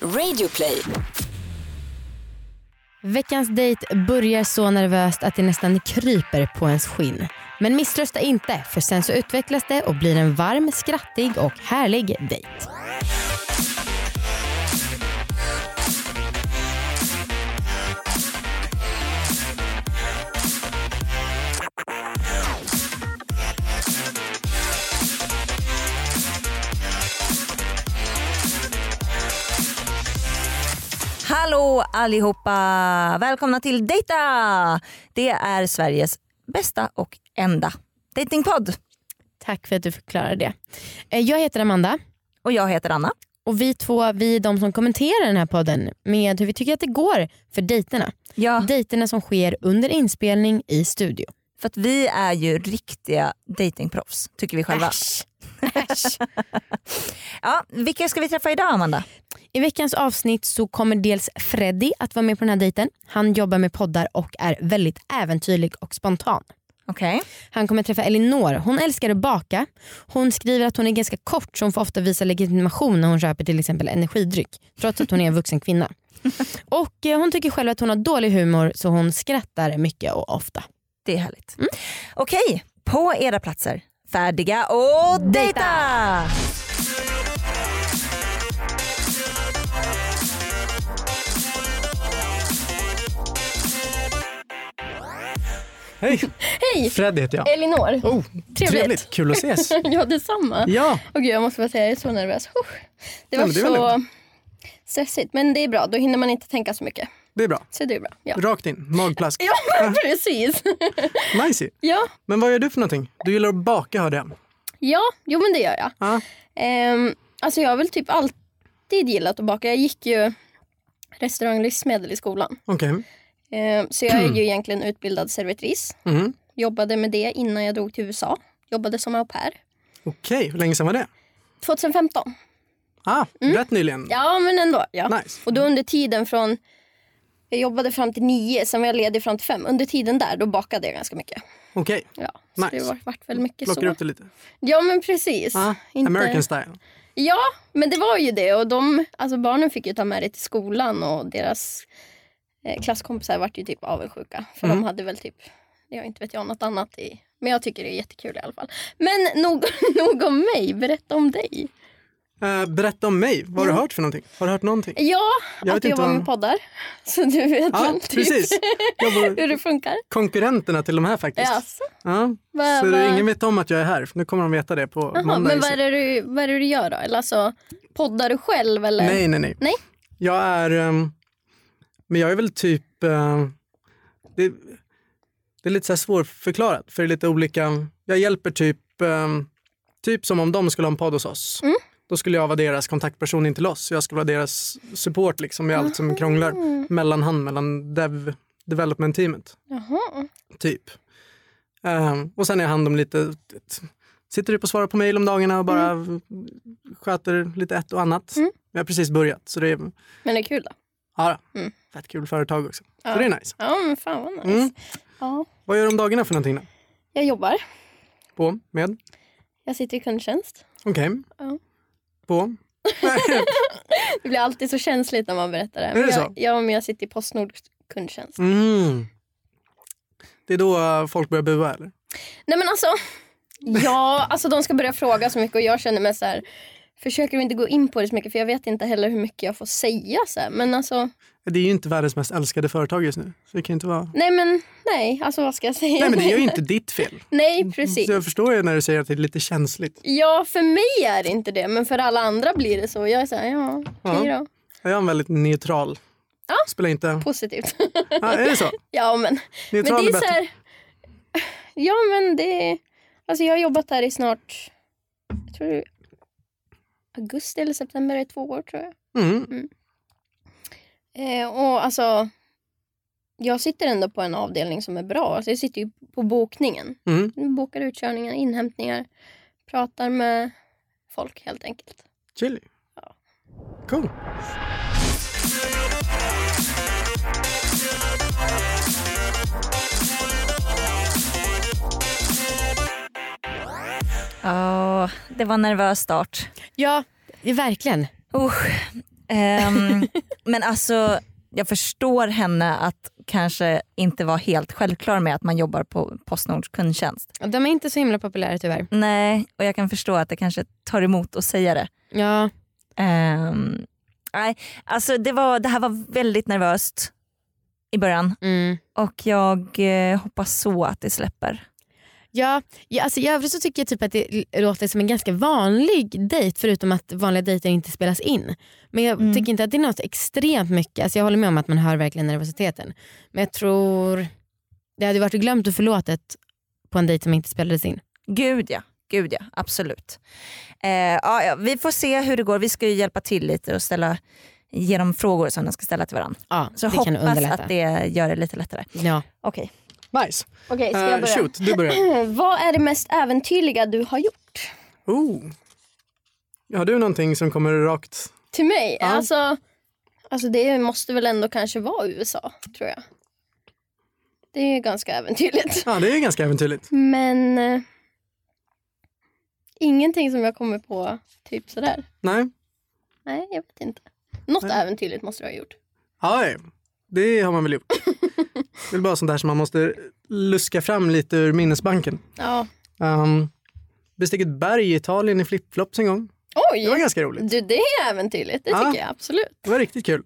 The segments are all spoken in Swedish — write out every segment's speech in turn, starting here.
Radioplay. Veckans dejt börjar så nervöst att det nästan kryper på ens skinn. Men misströsta inte, för sen så utvecklas det och blir en varm, skrattig och härlig dejt. Hallå allihopa! Välkomna till Dejta! Det är Sveriges bästa och enda dejtingpodd. Tack för att du förklarade det. Eh, Jag heter Amanda Och jag heter Anna. och vi två vi är de som kommenterar den här podden med hur vi tycker att det går för dejterna. Ja. Dejterna som sker under inspelning i studio. För att vi är ju riktiga dejtingproffs tycker vi själva. Äsch. Äsch. Ja, vilka ska vi träffa idag Amanda? I veckans avsnitt så kommer dels Freddy att vara med på den här dejten. Han jobbar med poddar och är väldigt äventyrlig och spontan. Okej. Han kommer träffa Elinor. Hon älskar att baka. Hon skriver att hon är ganska kort så hon får ofta visa legitimation när hon köper till exempel energidryck trots att hon är en vuxen kvinna. Och eh, Hon tycker själv att hon har dålig humor så hon skrattar mycket och ofta. Det är härligt. Okej, på era platser. Färdiga och dejta! Hej! Hej! Fred heter jag. Elinor. Oh, Trevligt. Kul att ses. Ja, detsamma. Ja, Och gud, jag måste bara säga, jag är så nervös. Oh, det Nej, var men det är väl så stressigt, men det är bra. Då hinner man inte tänka så mycket. det är bra. Så det är bra. Ja, Rakt in, magplask. ja precis. Nice. ja. Men vad gör du för någonting? Du gillar att baka hörde jag. Ah, ja, jo men det gör jag. Ja. Ehm, alltså jag har väl typ alltid gillat att baka. Jag gick ju restaurang och livsmedel i skolan. Okej. Ehm, så jag är ju egentligen utbildad servitris. Mm. Jobbade med det innan jag drog till USA. Jobbade som au pair. Okej, hur länge sedan var det? 2015. Ah, rätt nyligen. Mm. Ja, men ändå. Ja. Nice. Och då under tiden från... Jag jobbade fram till nio, sen var jag ledig fram till fem. Under tiden där, då bakade jag ganska mycket. Okej, Ja, så Nice. det var, vart väl mycket plockar så. upp det lite. Ja, men precis. Ah, Inte- American style. Ja, men det var ju det. Och de, alltså barnen fick ju ta med det till skolan och deras eh, klasskompisar vart ju typ avundsjuka. För Mm. de hade väl typ, jag inte vet jag, något annat i. Men jag tycker det är jättekul i alla fall. Men nog, nog om mig, berätta om dig. Eh, berätta om mig, vad har du Mm. hört för någonting? Har du hört någonting? Ja, Jag vet att inte du jobbar vad- med poddar. Så du vet Ja, väl typ precis. Jag hur var det funkar. konkurrenterna till de här faktiskt. Jaså? Ja. Va- Så va- ingen vet om att jag är här. Nu kommer de veta det på Jaha, måndag. men vad är, det du, vad är det du gör då? Eller alltså, poddar du själv eller? Nej, nej, nej. Nej? Jag är... ehm, men jag är väl typ... ehm, det, det är lite så här svårförklarat, för det är lite olika... Jag hjälper typ... ehm, typ som om de skulle ha en podd hos oss. Mm. Då skulle jag vara deras kontaktperson in till oss. Jag skulle vara deras support liksom i allt Ah. som krånglar. Mellanhand mellan dev, development-teamet, Jaha. typ. Ehm, och sen är jag hand om lite... Sitter upp och svarar på mejl om dagarna och bara Mm. sköter lite ett och annat. Jag har precis börjat, så det är Men det är kul då? Ja, då. Mm. fett kul företag också. Så det är nice. Ja, men fan vad nice. Mm. Ja. Vad gör du om dagarna för någonting då? Jag jobbar. På? Med? Jag sitter i kundtjänst. Okej. Ja. På? Det blir alltid så känsligt när man berättar det. det Men så? jag, ja, men jag sitter i Postnord kundtjänst. Mm. Det är då eh, folk börjar bua eller? Nej men alltså. Ja, alltså de ska börja fråga så mycket och jag känner mig så här. Försöker inte gå in på det så mycket för jag vet inte heller hur mycket jag får säga. Så här. Men alltså, Det är ju inte världens mest älskade företag just nu. Så det kan ju inte vara... nej men nej. Alltså vad ska jag säga? Nej men det är ju inte ditt fel. Nej, precis. Så jag förstår ju när du säger att det är lite känsligt. Ja, för mig är det inte det, men för alla andra blir det så. Jag är så här, ja, okej Ja. då. Jag är en väldigt neutral. Ja. Spelar inte... Positivt. Ja, är det så? ja, men, men det Neutral är är så bättre. här... Ja, men det... Alltså jag har jobbat här i snart... Jag tror det är augusti eller september, i två år tror jag. Mm. Eh, och alltså... Jag sitter ändå på en avdelning som är bra. Alltså jag sitter ju på bokningen. Mm. Bokar utkörningar, inhämtningar. Pratar med folk helt enkelt. Chili. Cool. Ja, det var en nervös start. Ja, verkligen. Usch. Ehm, men alltså jag förstår henne att kanske inte vara helt självklar med att man jobbar på Postnords kundtjänst. Och De är inte så himla populära tyvärr. Nej, och jag kan förstå att det kanske tar emot att säga det. Ja, Ehm, nej, alltså det, var, det här var väldigt nervöst i början mm. och jag eh, hoppas så att det släpper. ja, ja alltså, i övrigt så tycker jag typ att det l- låter som en ganska vanlig dejt förutom att vanliga dejter inte spelas in. Men jag Mm. tycker inte att det är något extremt mycket. Alltså, jag håller med om att man hör verkligen nervositeten. Men jag tror det hade varit glömt och förlåtet på en dejt som inte spelades in. Gud ja, gud ja, absolut. Eh, ja, ja, vi får se hur det går. Vi ska ju hjälpa till lite och ställa, ge dem frågor som de ska ställa till varandra. Ja, Så det kan hoppas underlätta. att det gör det lite lättare. Ja. Okej. Nice. Okej, ska jag Uh, börja? shoot, du börjar. Vad är det mest äventyrliga du har gjort? Oh. Har du någonting som kommer rakt? Till mig? Alltså, alltså det måste väl ändå kanske vara USA, tror jag. Det är ju ganska äventyrligt. Ja, det är ganska äventyrligt. Men eh, ingenting som jag kommer på typ sådär. Nej, Nej, jag vet inte. Något Nej. äventyrligt måste du ha gjort. Aj, det har man väl gjort. Det är väl bara sånt där som man måste luska fram lite ur minnesbanken. Ja. Um, bestick ett berg i Italien i flipflops en gång. Det var Oj! ganska roligt. Du, det är äventyrligt. Det Ja. tycker jag absolut. Det var riktigt kul.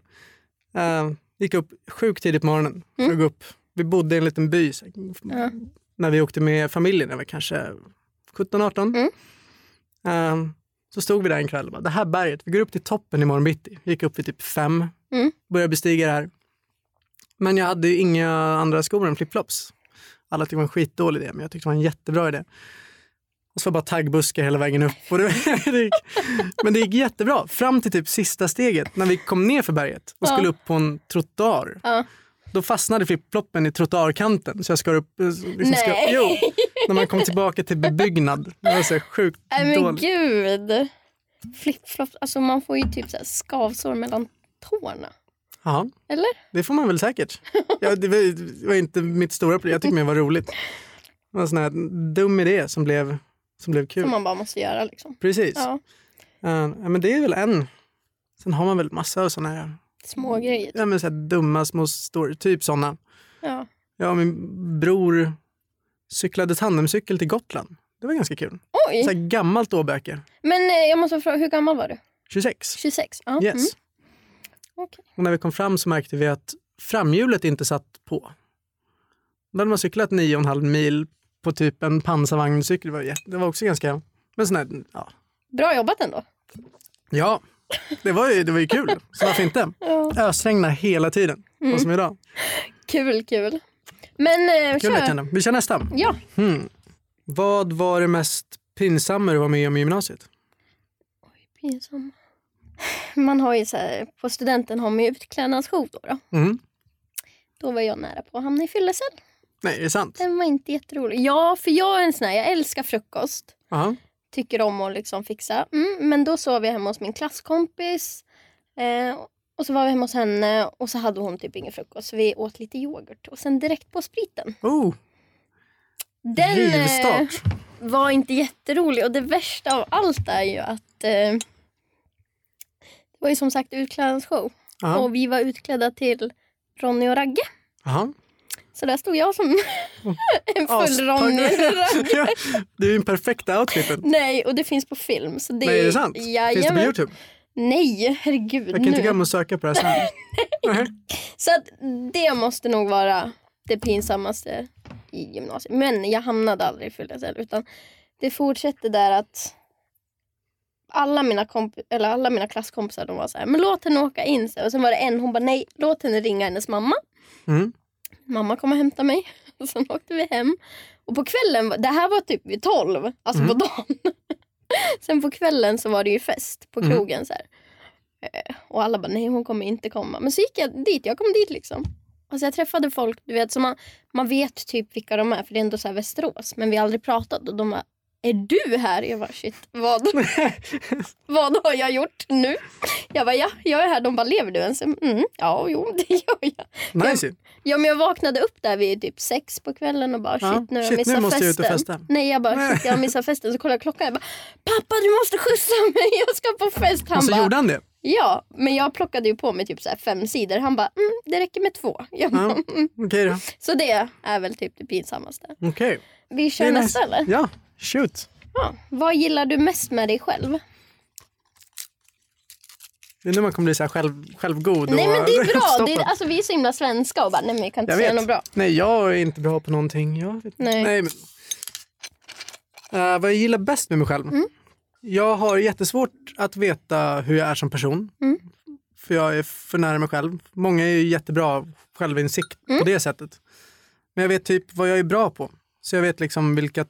Uh, gick upp sjukt tidigt på morgonen. För att gå upp. Vi bodde i en liten by så, Ja. när vi åkte med familjen. Jag var kanske 17-18. Mm. Ehm, så stod vi där en kväll och bara, det här berget, vi går upp till toppen imorgon bitti. Gick upp vid typ fem, Mm. började bestiga det här. Men jag hade ju inga andra skor än flipflops. Alla tyckte det var en skitdålig idé, men jag tyckte det var en jättebra idé. Och så var det bara taggbuskar hela vägen upp. Och det, det gick, men det gick jättebra, fram till typ sista steget när vi kom ner för berget och Ja. skulle upp på en trottoar. Ja. Då fastnade flipfloppen i trottoarkanten så jag skar upp... eh, Liksom skar, Nej. jo, när man kom tillbaka till bebyggnad. Det var så här sjukt Nej men dåligt. gud. Flipflops, alltså man får ju typ så här skavsår mellan tårna. Ja, Eller? det får man väl säkert. Ja, det, var, det var inte mitt stora problem, jag tyckte mer det var roligt. Det var en sån här dum idé som blev, som blev kul. Som man bara måste göra liksom. Precis. Ja, Eh, ja, men det är väl en. Sen har man väl massa av såna här, små Mm. grejer. ja, men så här dumma små stories, typ såna. Ja. Jag och min bror cyklade tandemcykel till Gotland. Det var ganska kul. Så Oj! här gammalt åbäke, Men eh, jag måste fråga, hur gammal var du? 26. 26? Ja. Yes. Mm. Okej. Och när vi kom fram så märkte vi att framhjulet inte satt på. Då hade man cyklat nio och en halv mil på typ en pansarvagnscykel. Det var, jätte- det var också ganska... Men sån här, ja. Bra jobbat ändå. ja, det var ju, det var ju kul. Så varför inte? Ja. Ösregna hela tiden. Mm. Och som idag. Kul, kul. Men eh, Kul att kör. känna. Vi kör nästa. Ja. Hmm. Vad var det mest pinsamma du var med om i gymnasiet? Pinsam. Man har ju så här, på studenten har man ju utklädnadsshow då, då. Mm. Då var jag nära på att hamna i fyllecell. Nej, är det sant? Den var inte jätterolig. Ja, för jag är en sån här, jag älskar frukost. Ja. Tycker om att liksom fixa. Mm, men då sov jag hemma hos min klasskompis. Eh, och så var vi hemma hos henne och så hade hon typ ingen frukost. Så vi åt lite yoghurt och sen direkt på spriten. Oh, Den eh, rivstart. var inte jätterolig och det värsta av allt är ju att eh, det var ju som sagt utklädnadsshow. Ja. eh, Och vi var utklädda till Ronny och Ragge. Aha. Så där stod jag som en full Ronny och Ragge. Ja, Det är ju den perfekta outfiten. Nej, och det finns på film. Så det, Nej, är det sant? Finns det på Jajamän. Youtube? Nej, herregud. Jag kan inte nu. glömma att söka på det här sen. Nej. Så att det måste nog vara det pinsammaste i gymnasiet. Men jag hamnade aldrig i fyllecell utan det fortsatte där att alla mina, komp- eller alla mina klasskompisar de var så här, men låt henne åka in. Så här. Och sen var det en, hon bara nej, låt henne ringa hennes mamma. Mm. Mamma kom och hämtade mig. Och sen åkte vi hem. Och på kvällen, var- det här var typ vid tolv, alltså på Mm. dagen. sen på kvällen så var det ju fest på Mm. krogen så här. Eh, Och alla bara nej hon kommer inte komma. Men så gick jag dit, jag kom dit liksom. Alltså jag träffade folk, du vet, så man, man vet typ vilka de är för det är ändå så här Västerås. Men vi har aldrig pratat och de bara är du här? Jag bara shit, vad, vad har jag gjort nu? Jag bara ja, jag är här. De bara lever du ens? Mm, ja, jo det gör jag. Nice ju. Ja men jag vaknade upp där vid typ sex på kvällen och bara shit Ja, nu har jag shit, missat nu måste jag ut och festen. festa. Nej jag bara shit jag har missat festen. Så kollar jag klockan jag bara pappa du måste skjutsa mig jag ska på fest. Han Och så bara gjorde han det. Ja, men jag plockade ju på mig typ så här fem sidor. Han bara, mm, det räcker med två. Jag bara, Ja, Okej då. Så det är väl typ det pinsammaste. Okej. Vi Det kör är nästa nice. eller? Ja, shoot. Ja. Vad gillar du mest med dig själv? Det är nu man kommer bli så här själv, självgod. Nej och men det är bra. Det är, uppstoppad. alltså, vi är så himla svenska och bara, nej men jag kan inte Jag säga vet. något bra. Nej, jag är inte bra på någonting. Jag vet. Nej. men. Eh, vad jag gillar bäst med mig själv? Mm. Jag har jättesvårt att veta hur jag är som person. Mm. För jag är för nära mig själv. Många är ju jättebra självinsikt Mm. på det sättet. Men jag vet typ vad jag är bra på. Så jag vet liksom vilka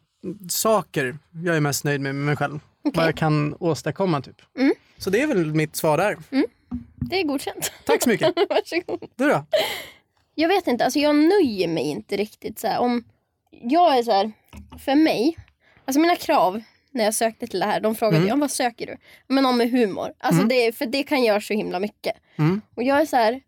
saker jag är mest nöjd med med mig själv. Vad jag kan åstadkomma typ. Mm. Så det är väl mitt svar där. Det är godkänt. Tack så mycket. Varsågod. Du då? Jag vet inte, alltså jag nöjer mig inte riktigt så här om... Jag är så här, för mig, alltså mina krav när jag sökte till det här, de frågade Mm. ju om vad söker du? Men om med humor. Alltså det, för det kan göra så himla mycket. Mm. Och jag är så här,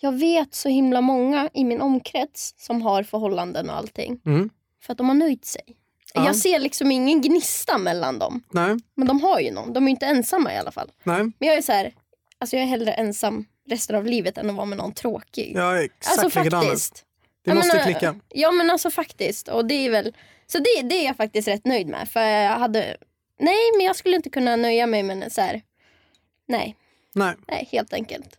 jag vet så himla många i min omkrets som har förhållanden och allting. Mm. För att de har nöjt sig. Ja. Jag ser liksom ingen gnista mellan dem. Nej, Men de har ju någon, de är ju inte ensamma i alla fall. nej. Men jag är så här, alltså jag är hellre ensam resten av livet än att vara med någon tråkig. Jag är exakt alltså likadan. faktiskt. Det Jag måste menar, klicka. Ja men alltså faktiskt. Och det är väl, så det, det är jag faktiskt rätt nöjd med. För jag hade, nej men jag skulle inte kunna nöja mig med så här. Nej, Nej. nej helt enkelt.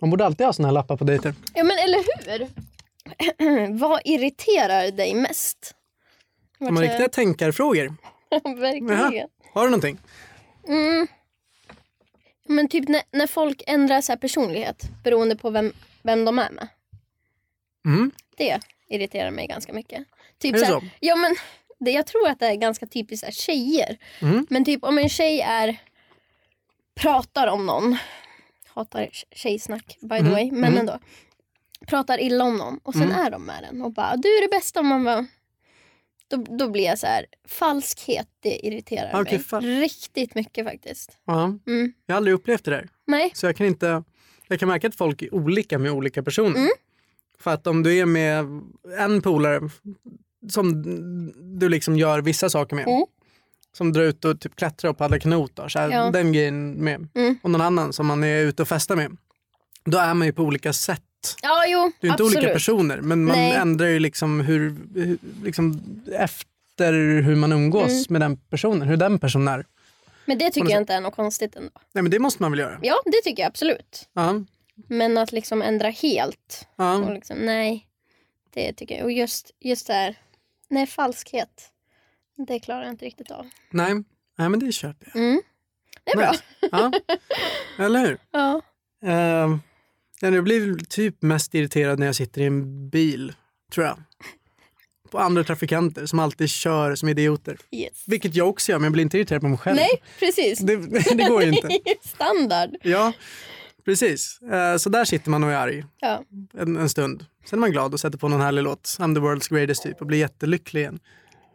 Man borde alltid ha såna här lappar på dejter. Ja men eller hur? Vad irriterar dig mest? Vart De har jag- riktiga tänkarfrågor. Verkligen. Har du någonting? Mm. Men typ när, när folk ändrar så här personlighet beroende på vem, vem de är med. Mm. Det irriterar mig ganska mycket. Typ Är det så? här- så? Ja, men det, jag tror att det är ganska typiskt så här, tjejer. Mm. Men typ om en tjej är pratar om någon, hatar tj- tjejsnack by the Mm. way, men Mm. ändå. Pratar illa om någon och sen Mm. är de med den och bara du är det bästa om man var... Då, då blir jag så här, falskhet det irriterar Ah, Okej, mig fal- riktigt mycket faktiskt. Ja. Mm. Jag har aldrig upplevt det där. Nej, Så jag kan inte... Jag kan märka att folk är olika med olika personer. Mm. För att om du är med en polare som du liksom gör vissa saker med. Mm. Som drar ut och typ klättrar och paddlar kanot. Då, så här, Ja. Den grejen med. Mm. Och någon annan som man är ute och festar med. Då är man ju på olika sätt. ja jo Det är ju inte absolut. olika personer men man Nej. ändrar ju liksom hur, hur liksom efter hur man umgås Mm. med den personen, hur den personen är. Men det tycker På något jag inte är något konstigt ändå. Nej men det måste man väl göra? Ja det tycker jag absolut. Ja. Men att liksom ändra helt ja. Och liksom, nej, det tycker jag. Och just, just det här, nej falskhet. Det klarar jag inte riktigt av. Nej. Nej men det köper jag. Mm. Det är bra. Nice. Ja. Eller hur? Ja. Uh, jag blir väl typ mest irriterad när jag sitter i en bil, tror jag. På andra trafikanter som alltid kör som idioter. Yes. Vilket jag också gör men jag blir inte irriterad på mig själv. Nej, precis. Det, det går ju inte. Standard. Ja, precis. Eh, Så där sitter man och är arg Ja. en, en stund. Sen är man glad och sätter på någon härlig låt, I'm the world's greatest typ, och blir jättelycklig igen.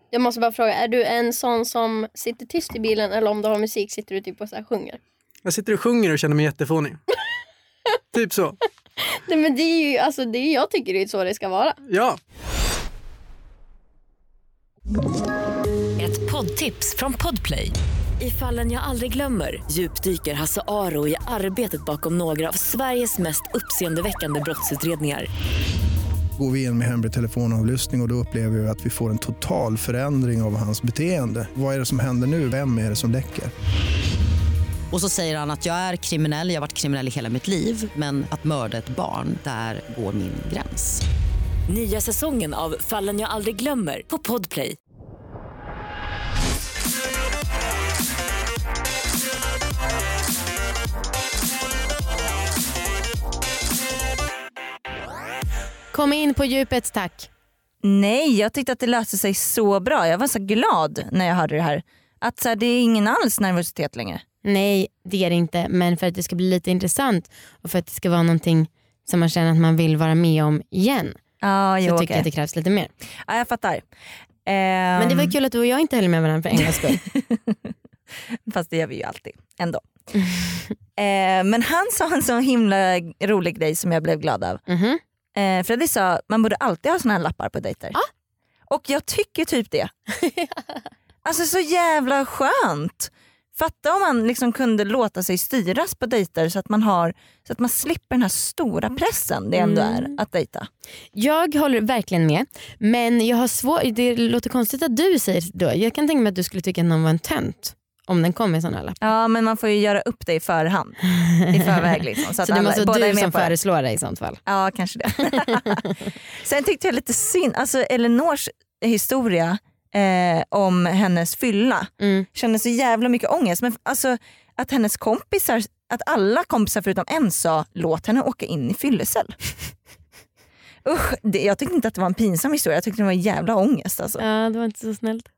Jag måste bara fråga, är du en sån som sitter tyst i bilen eller om du har musik sitter du typ och så här sjunger? Jag sitter och sjunger och känner mig jättefånig. typ så. Nej men det är ju, alltså det är, jag tycker det är så det ska vara. Ja, Ett poddtips från Podplay. I fallen jag aldrig glömmer djupdyker Hasse Aro i arbetet bakom några av Sveriges mest uppseendeväckande brottsutredningar. Går vi in med hemlig telefonavlyssning och, och då upplever vi att vi får en total förändring av hans beteende. Vad är det som händer nu? Vem är det som läcker? Och så säger han att jag är kriminell, jag har varit kriminell i hela mitt liv men att mörda ett barn, där går min gräns. Nya säsongen av Fallen jag aldrig glömmer på Podplay. Kom in på djupet tack. Nej, jag tyckte att det löste sig så bra. Jag var så glad när jag hörde det här. Att så här, det är ingen alls nervositet längre. Nej det är det inte men för att det ska bli lite intressant och för att det ska vara någonting som man känner att man vill vara med om igen Ja, jo, så tycker jag okej. att det krävs lite mer. ja, jag fattar. Men det var Ehm, kul att du och jag inte höll med varandra för en gångs skull. Ehm, Fast det gör vi ju alltid ändå. eh, men han sa en så himla rolig grej som jag blev glad av. Mhm. Eh, Freddy sa man borde alltid ha såna här lappar på dejter. Och jag tycker typ det. alltså så jävla skönt. Fatta om man liksom kunde låta sig styras på dejter så att man, har, så att man slipper den här Mm. stora pressen det ändå är att dejta. Jag håller verkligen med. Men jag har svårt, det låter konstigt att du säger då. Jag kan tänka mig att du skulle tycka att någon var en tönt om den kom med sådana lappar. Ja men man får ju göra upp det i förhand. I förväg liksom. Så, att Så det alla- måste båda vara är du med som på det. föreslår det i sånt fall. Ja, kanske det. Sen tyckte jag lite synd, alltså Elinors historia eh, om hennes fylla Mm. kände så jävla mycket ångest. Men alltså att hennes kompisar, att alla kompisar förutom en sa låt henne åka in i fyllecell. Usch, det, jag tyckte inte att det var en pinsam historia, jag tyckte det var en jävla ångest alltså. Ja, det var inte så snällt.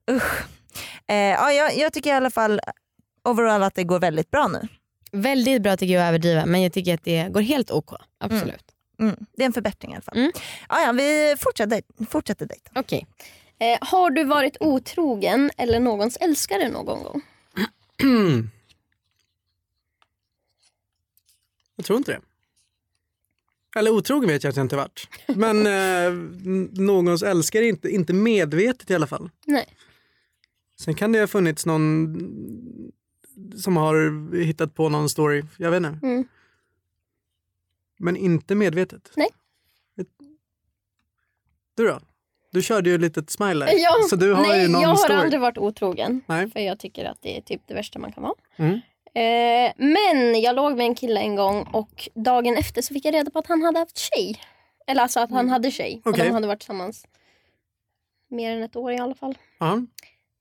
Eh, ja, jag, jag tycker i alla fall overall att det går väldigt bra nu. Väldigt bra tycker jag att överdriva men jag tycker att det går helt OK. Absolut. Mm, det är en förbättring i alla fall. Mm. Ja, ja, vi fortsätter, fortsätter dejta. Okej. Eh, har du varit otrogen eller någons älskare någon gång? Jag tror inte det. Eller otrogen vet jag att jag inte varit. Men eh, n- någons älskare är inte, inte medvetet i alla fall. Nej. Sen kan det ha funnits någon som har hittat på någon story. Jag vet inte. Mm. Men inte medvetet. Nej. Du då? Du körde ju ett litet smile där. Jag, Så du har nej, ju någon jag har story. aldrig varit otrogen. Nej. För jag tycker att det är typ det värsta man kan vara. Mm. Eh, men jag låg med en kille en gång och dagen efter så fick jag reda på att han hade haft tjej. Eller alltså att han hade tjej. Och Okej. de hade varit tillsammans mer än ett år i alla fall. Ja,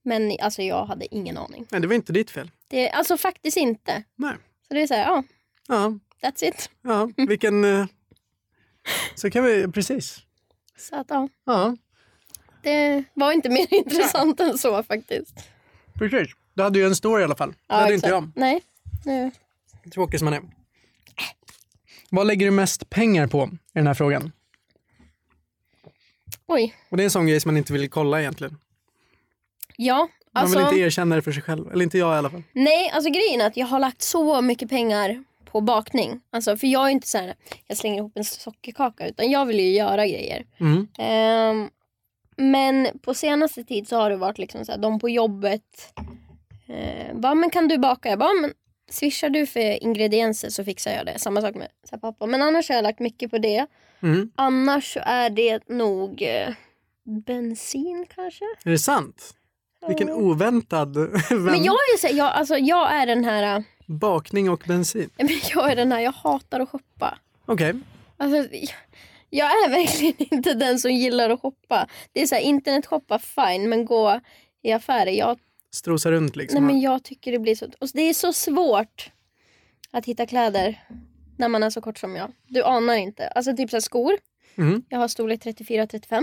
Men alltså jag hade ingen aning. Nej, det var inte ditt fel. Det, alltså faktiskt inte. Nej. Så det är så här, ja, Ja, that's it. ja vilken... eh, Så kan vi... Precis. Så att ja, Ja, det var inte mer intressant än så faktiskt. precis. Du hade ju en story i alla fall. Ja, det hade exakt. inte jag. Nej. Nu. Tråkig som man är. Vad lägger du mest pengar på i den här frågan? Oj. Och det är en sån grej som man inte vill kolla egentligen. Ja, Man alltså. vill inte erkänna det för sig själv. Eller inte jag i alla fall. Nej, alltså grejen är att jag har lagt så mycket pengar på bakning. Alltså, för jag är inte så här, jag slänger ihop en sockerkaka utan jag vill ju göra grejer. Mm. Ehm, men på senaste tid så har det varit liksom så här, de på jobbet. Eh, bara, men kan du baka? Jag bara, men swishar du för ingredienser så fixar jag det. Samma sak med så här, pappa. Men annars har jag lagt mycket på det. Mm. Annars så är det nog eh, bensin kanske. Är det sant? Vilken Ja. oväntad vän. Men jag är, så här, jag, alltså, jag är den här eh, Bakning och bensin. Men jag är den här, jag hatar att shoppa. Okej. Alltså, jag- jag är verkligen inte den som gillar att shoppa. Det är så här, internetshoppa fine, men gå i affärer. Jag, Strosa runt nej, liksom. men jag tycker det blir så... Och det är så svårt att hitta kläder när man är så kort som jag. Du anar inte. Alltså typ så här, skor. Mm. Jag har storlek 34-35.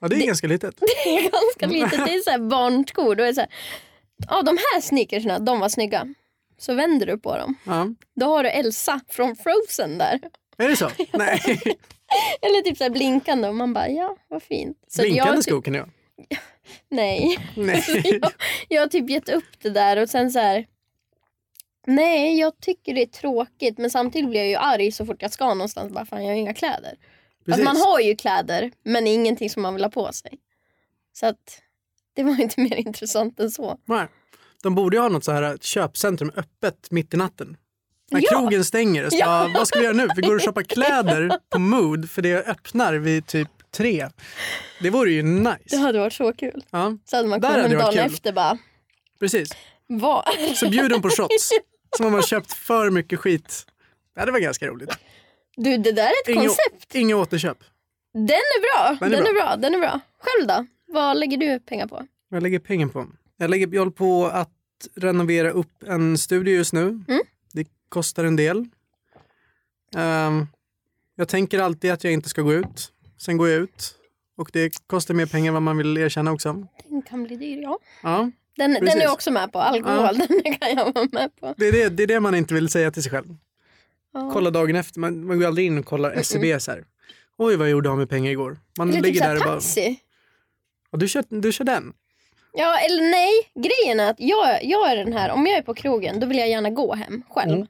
Ja, det är ganska litet. Det är ganska litet. Det är så här barnskor. Då är det så här, ja, de här sneakersna, de var snygga. Så vänder du på dem. Ja. Då har du Elsa från Frozen där. Är det så? Nej. Eller typ så här blinkande och man bara ja, vad fint. Så att Blinkande jag, typ- skor kan det vara. Nej. Nej. jag, jag har typ gett upp det där och sen så här. Nej, jag tycker det är tråkigt men samtidigt blir jag ju arg så fort jag ska någonstans. Bara fan, jag har ju inga kläder. Att Precis. man har ju kläder men ingenting som man vill ha på sig. Så att det var inte mer intressant än så. Nej. De borde ju ha något så här köpcentrum öppet mitt i natten. När Ja. krogen stänger. Så, Ja. Vad ska vi göra nu? Vi går och shoppar kläder på Mood för det öppnar vid typ tre. Det vore ju Det nice. hade varit så kul. Ja, Så hade man Där hade kommit hem det varit dagen kul. efter bara. precis. Vad? Så bjud dem på shots. Som om man köpt för mycket skit. Det hade varit ganska roligt. Du, det där är ett Inga, koncept. inga återköp. Den är bra. Den är Den är bra. Den är bra. Själv då? Vad lägger du pengar på? Vad jag lägger pengar på? Jag, lägger, jag håller på att renovera upp en studio just nu. Mm. Det kostar en del. Ehm, jag tänker alltid att jag inte ska gå ut. Sen går jag ut. Och det kostar mer pengar än vad man vill erkänna också. Den kan bli dyr, ja. Ja, Den, den är Precis. jag också med på. Alkohol, den kan jag vara med på. det, är det, det är det man inte vill säga till sig själv. Ja. Kolla dagen efter. Man, man går aldrig in och kollar SCB så här. Oj, vad jag gjorde av med pengar igår. Man Eller typ ligger där såhär och bara... taxi. Ja, du, kör, du kör den. Ja, eller nej. Grejen är att jag, jag är den här, om jag är på krogen då vill jag gärna gå hem själv. Mm.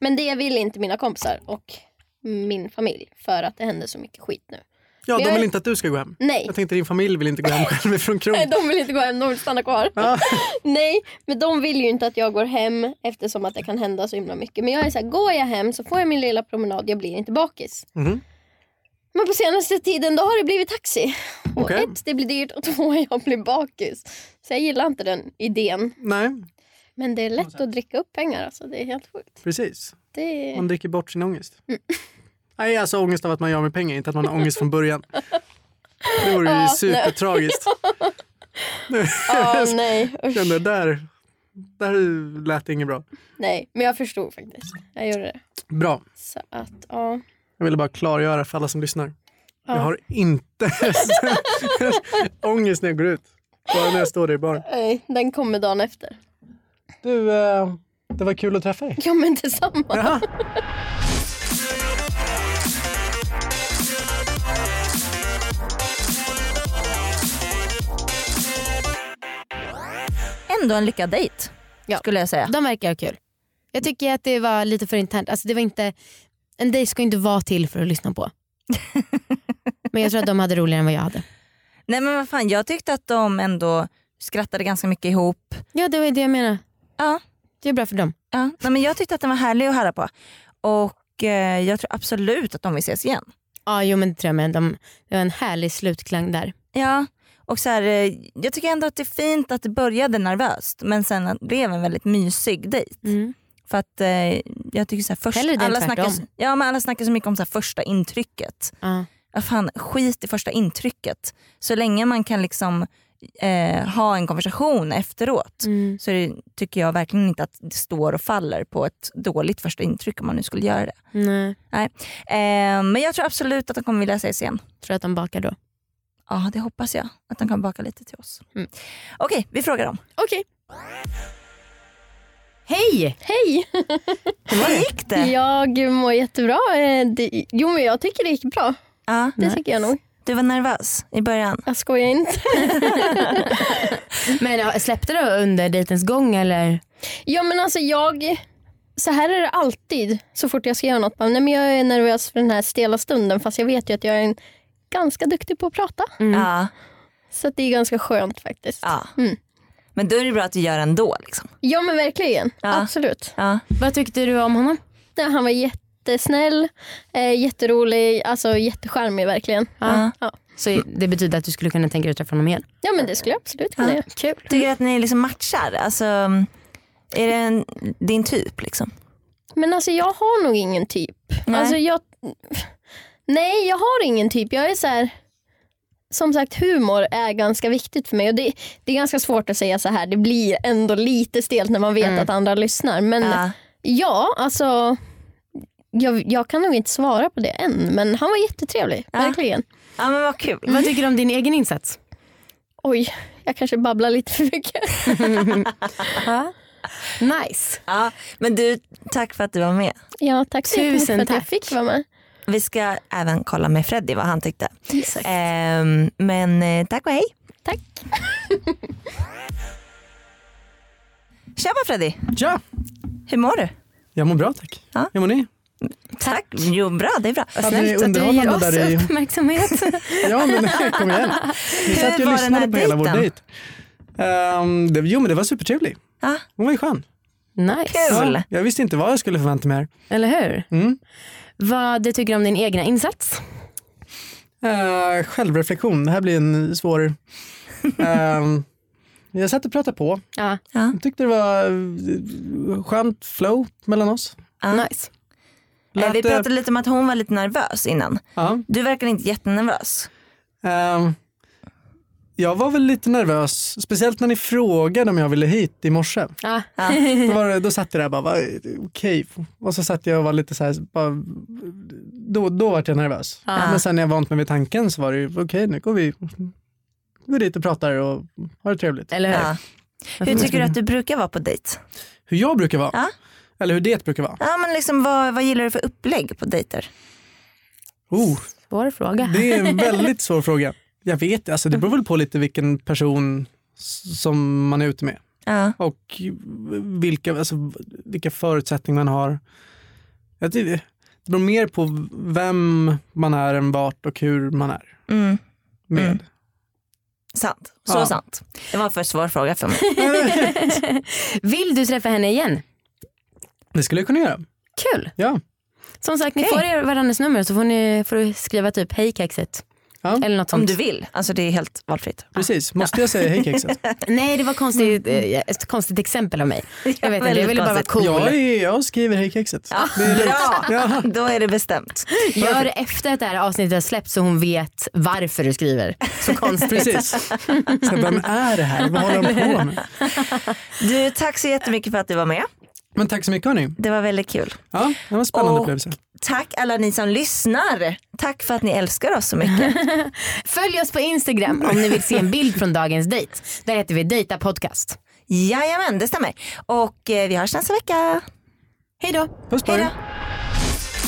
Men det vill inte mina kompisar och min familj för att det händer så mycket skit nu. Ja, Men de jag- vill inte att du ska gå hem. Nej, Jag tänkte din familj vill inte gå hem själv från Nej, krogen. de vill inte gå hem, de vill stanna kvar. Ja. Nej, men de vill ju inte att jag går hem eftersom att det kan hända så himla mycket. Men jag är så här, går jag hem så får jag min lilla promenad, jag blir inte bakis. Mhm. Men på senaste tiden då har det blivit taxi. Och Okej. ett, det blir dyrt och två, jag blir bakis. Så jag gillar inte den idén. Nej, Men det är lätt att dricka upp pengar alltså, det är helt sjukt. precis. Det är... Man dricker bort sin ångest. Mm. Nej, alltså ångest av att man gör med pengar, inte att man har ångest från början. Det vore ju Ja, nej. supertragiskt. Ja, nej. usch. Kände, där, där lät det inget bra. nej. Men jag förstod faktiskt. Jag gjorde det. Bra. Så att, ja. Jag ville bara klargöra för alla som lyssnar. Jag Ja. har inte ångest när jag går ut. Bara när jag står där i baren. Nej, den kommer dagen efter. Du, eh, det var kul att träffa dig. Ja, men detsamma. Jaha. Ändå en lyckad dejt Ja. skulle jag säga. De verkar ha kul. Jag tycker att det var lite för internt. Alltså det var inte, en dejt ska inte vara till för att lyssna på. Men jag tror att de hade roligare än vad jag hade. Nej men vad fan, jag tyckte att de ändå skrattade ganska mycket ihop. Ja det var det jag menade. Ja. Det är bra för dem. Ja. Nej, men jag tyckte att den var härlig att höra på. Och eh, jag tror absolut att de vill ses igen. Ja jo men det tror jag med. De, det var en härlig slutklang där. Ja. Och så här, eh, jag tycker ändå att det är fint att det började nervöst men sen att det blev en väldigt mysig dejt. Mm. För att eh, jag tycker så här, först, Hellre det än alla, snackar, tvärtom. ja, men alla snackar så mycket om så här, första intrycket. Ja. Ja, fan, skit i första intrycket. Så länge man kan liksom eh, ha en konversation efteråt Mm. så är det, tycker jag verkligen inte att det står och faller på ett dåligt första intryck om man nu skulle göra det. Nej. Eh, men jag tror absolut att de kommer vilja ses igen. Tror att de bakar då. Ja, det hoppas jag. Att de kan baka lite till oss. Mm. Okej, vi frågar dem. Okej. Hej! Hej! Hur gick det? Jag mår jättebra. Eh, det- Jo, men jag tycker det gick bra. Ja. Det tycker jag nog. Du var nervös i början. Jag skojar inte. Men ja, släppte du under dejtens gång eller? Ja, men alltså jag... Så här är det alltid så fort jag ska göra något. Bara, Nej, men jag är nervös för den här stela stunden fast jag vet ju att jag är en, ganska duktig på att prata. Ja. Så att det är ganska skönt faktiskt. Ja, Mm. ja. Mm. Men då är det bra att du gör ändå. Liksom. men verkligen. Ja. Absolut. Ja. Vad tyckte du om honom? Ja, han var jättesnäll, eh, jätterolig, alltså jättecharmig verkligen. Ja. Så det betyder att du skulle kunna tänka dig att träffa honom igen? Ja, men det skulle jag absolut kunna Ja. göra. Kul. Tycker du att ni liksom matchar? Alltså, är det en, din typ? Liksom? Men alltså jag har nog ingen typ. Nej. Alltså jag... Nej, jag har ingen typ. Jag är så här... Som sagt, humor är ganska viktigt för mig. Och det, det är ganska svårt att säga så här. Det blir ändå lite stelt när man vet att andra lyssnar. Men Mm. ja, Ja. alltså... Jag, jag kan nog inte svara på det än, men han var jättetrevlig. Ja. Verkligen. ja, men vad kul. Vad tycker du om din egen insats? Oj, jag kanske babblar lite för mycket. Nice. Ja, men du, tack för att du var med. Ja, tack så mycket Tusen för att jag tack. fick vara med. Vi ska även kolla med Freddy vad han tyckte. Exakt. Ehm, men eh, tack och hej. Tack. Tjaba Freddy, Tja! hur mår du? Jag mår bra tack. Ja. Hur mår ni? Tack. Jo bra, det är bra. Hade ni underhållande där i... uppmärksamhet. Ja men kom igen. Ni satt ju var och den här lyssnade på hela vår dejten? dejt. Ehm, det, jo men det var supertrevlig. Ja, Eh, Hon var ju skön. nice. Kul. Ja, jag visste inte vad jag skulle förvänta mig här. Eller hur? Mm. Vad du tycker om din egna insats? Eh, självreflektion, det här blir en svår... Ehm, jag satt och pratade på. Ja. Jag tyckte det var eh, skönt flow mellan oss. Nice. eh, vi Lät, eh, pratade lite om att hon var lite nervös innan. ja. Du verkar inte jättenervös. Ehm, jag var väl lite nervös, speciellt när ni frågade om jag ville hit i morse. Ja. Då, var det, då satt jag där och bara, va, okej. Och så satt jag och var lite så här, bara, då, då var jag nervös. Men sen när jag vant mig vid tanken så var det ju, okej nu går vi går dit och pratar och har det trevligt. Eller hur? Ja. Hur tycker du att du brukar vara på dejt? Hur jag brukar vara, Ja. eller hur det brukar vara. Ja, men liksom, vad, vad gillar du för upplägg på dejter? Oh, Svår fråga. det är en väldigt svår fråga. Jag vet alltså det beror väl på lite vilken person s- som man är ute med. Ja. och vilka, alltså, vilka förutsättningar man har. Jag tycker, det beror mer på vem man är än vart och hur man är. Mm. med. Mm. Sant. Så Ja. sant. Det var för svår fråga för mig. Vill du träffa henne igen? Det skulle jag kunna göra. Kul. Ja. Som sagt, ni Okej. får er varandras nummer så får, ni, får du skriva typ hej kexet. Ja. Eller något sånt. Om du vill. Alltså det är helt valfritt. Precis, måste jag säga hej kexet? Nej det var konstigt, eh, ett konstigt exempel av mig. Jag vet inte, jag Mm. väldigt ville bara vara konstigt. cool. Jag, är, jag skriver hej kexet. Ja. Bra, Ja. då är det bestämt. Gör det efter att det här avsnittet har släppts så hon vet varför du skriver. Så konstigt. Precis. Så vem är det här? Vad håller de på med? Du, tack så jättemycket för att du var med. Men tack så mycket hörni. Det var väldigt kul. Ja, det var en spännande Och- upplevelse. Tack alla ni som lyssnar. Tack för att ni älskar oss så mycket. Följ oss på Instagram om ni vill se en bild från dagens dejt. Där heter vi Dejta Podcast. Jajamän, det stämmer. Och eh, vi hörs nästa vecka. Hej då! Puss på Hej er. då.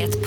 Ett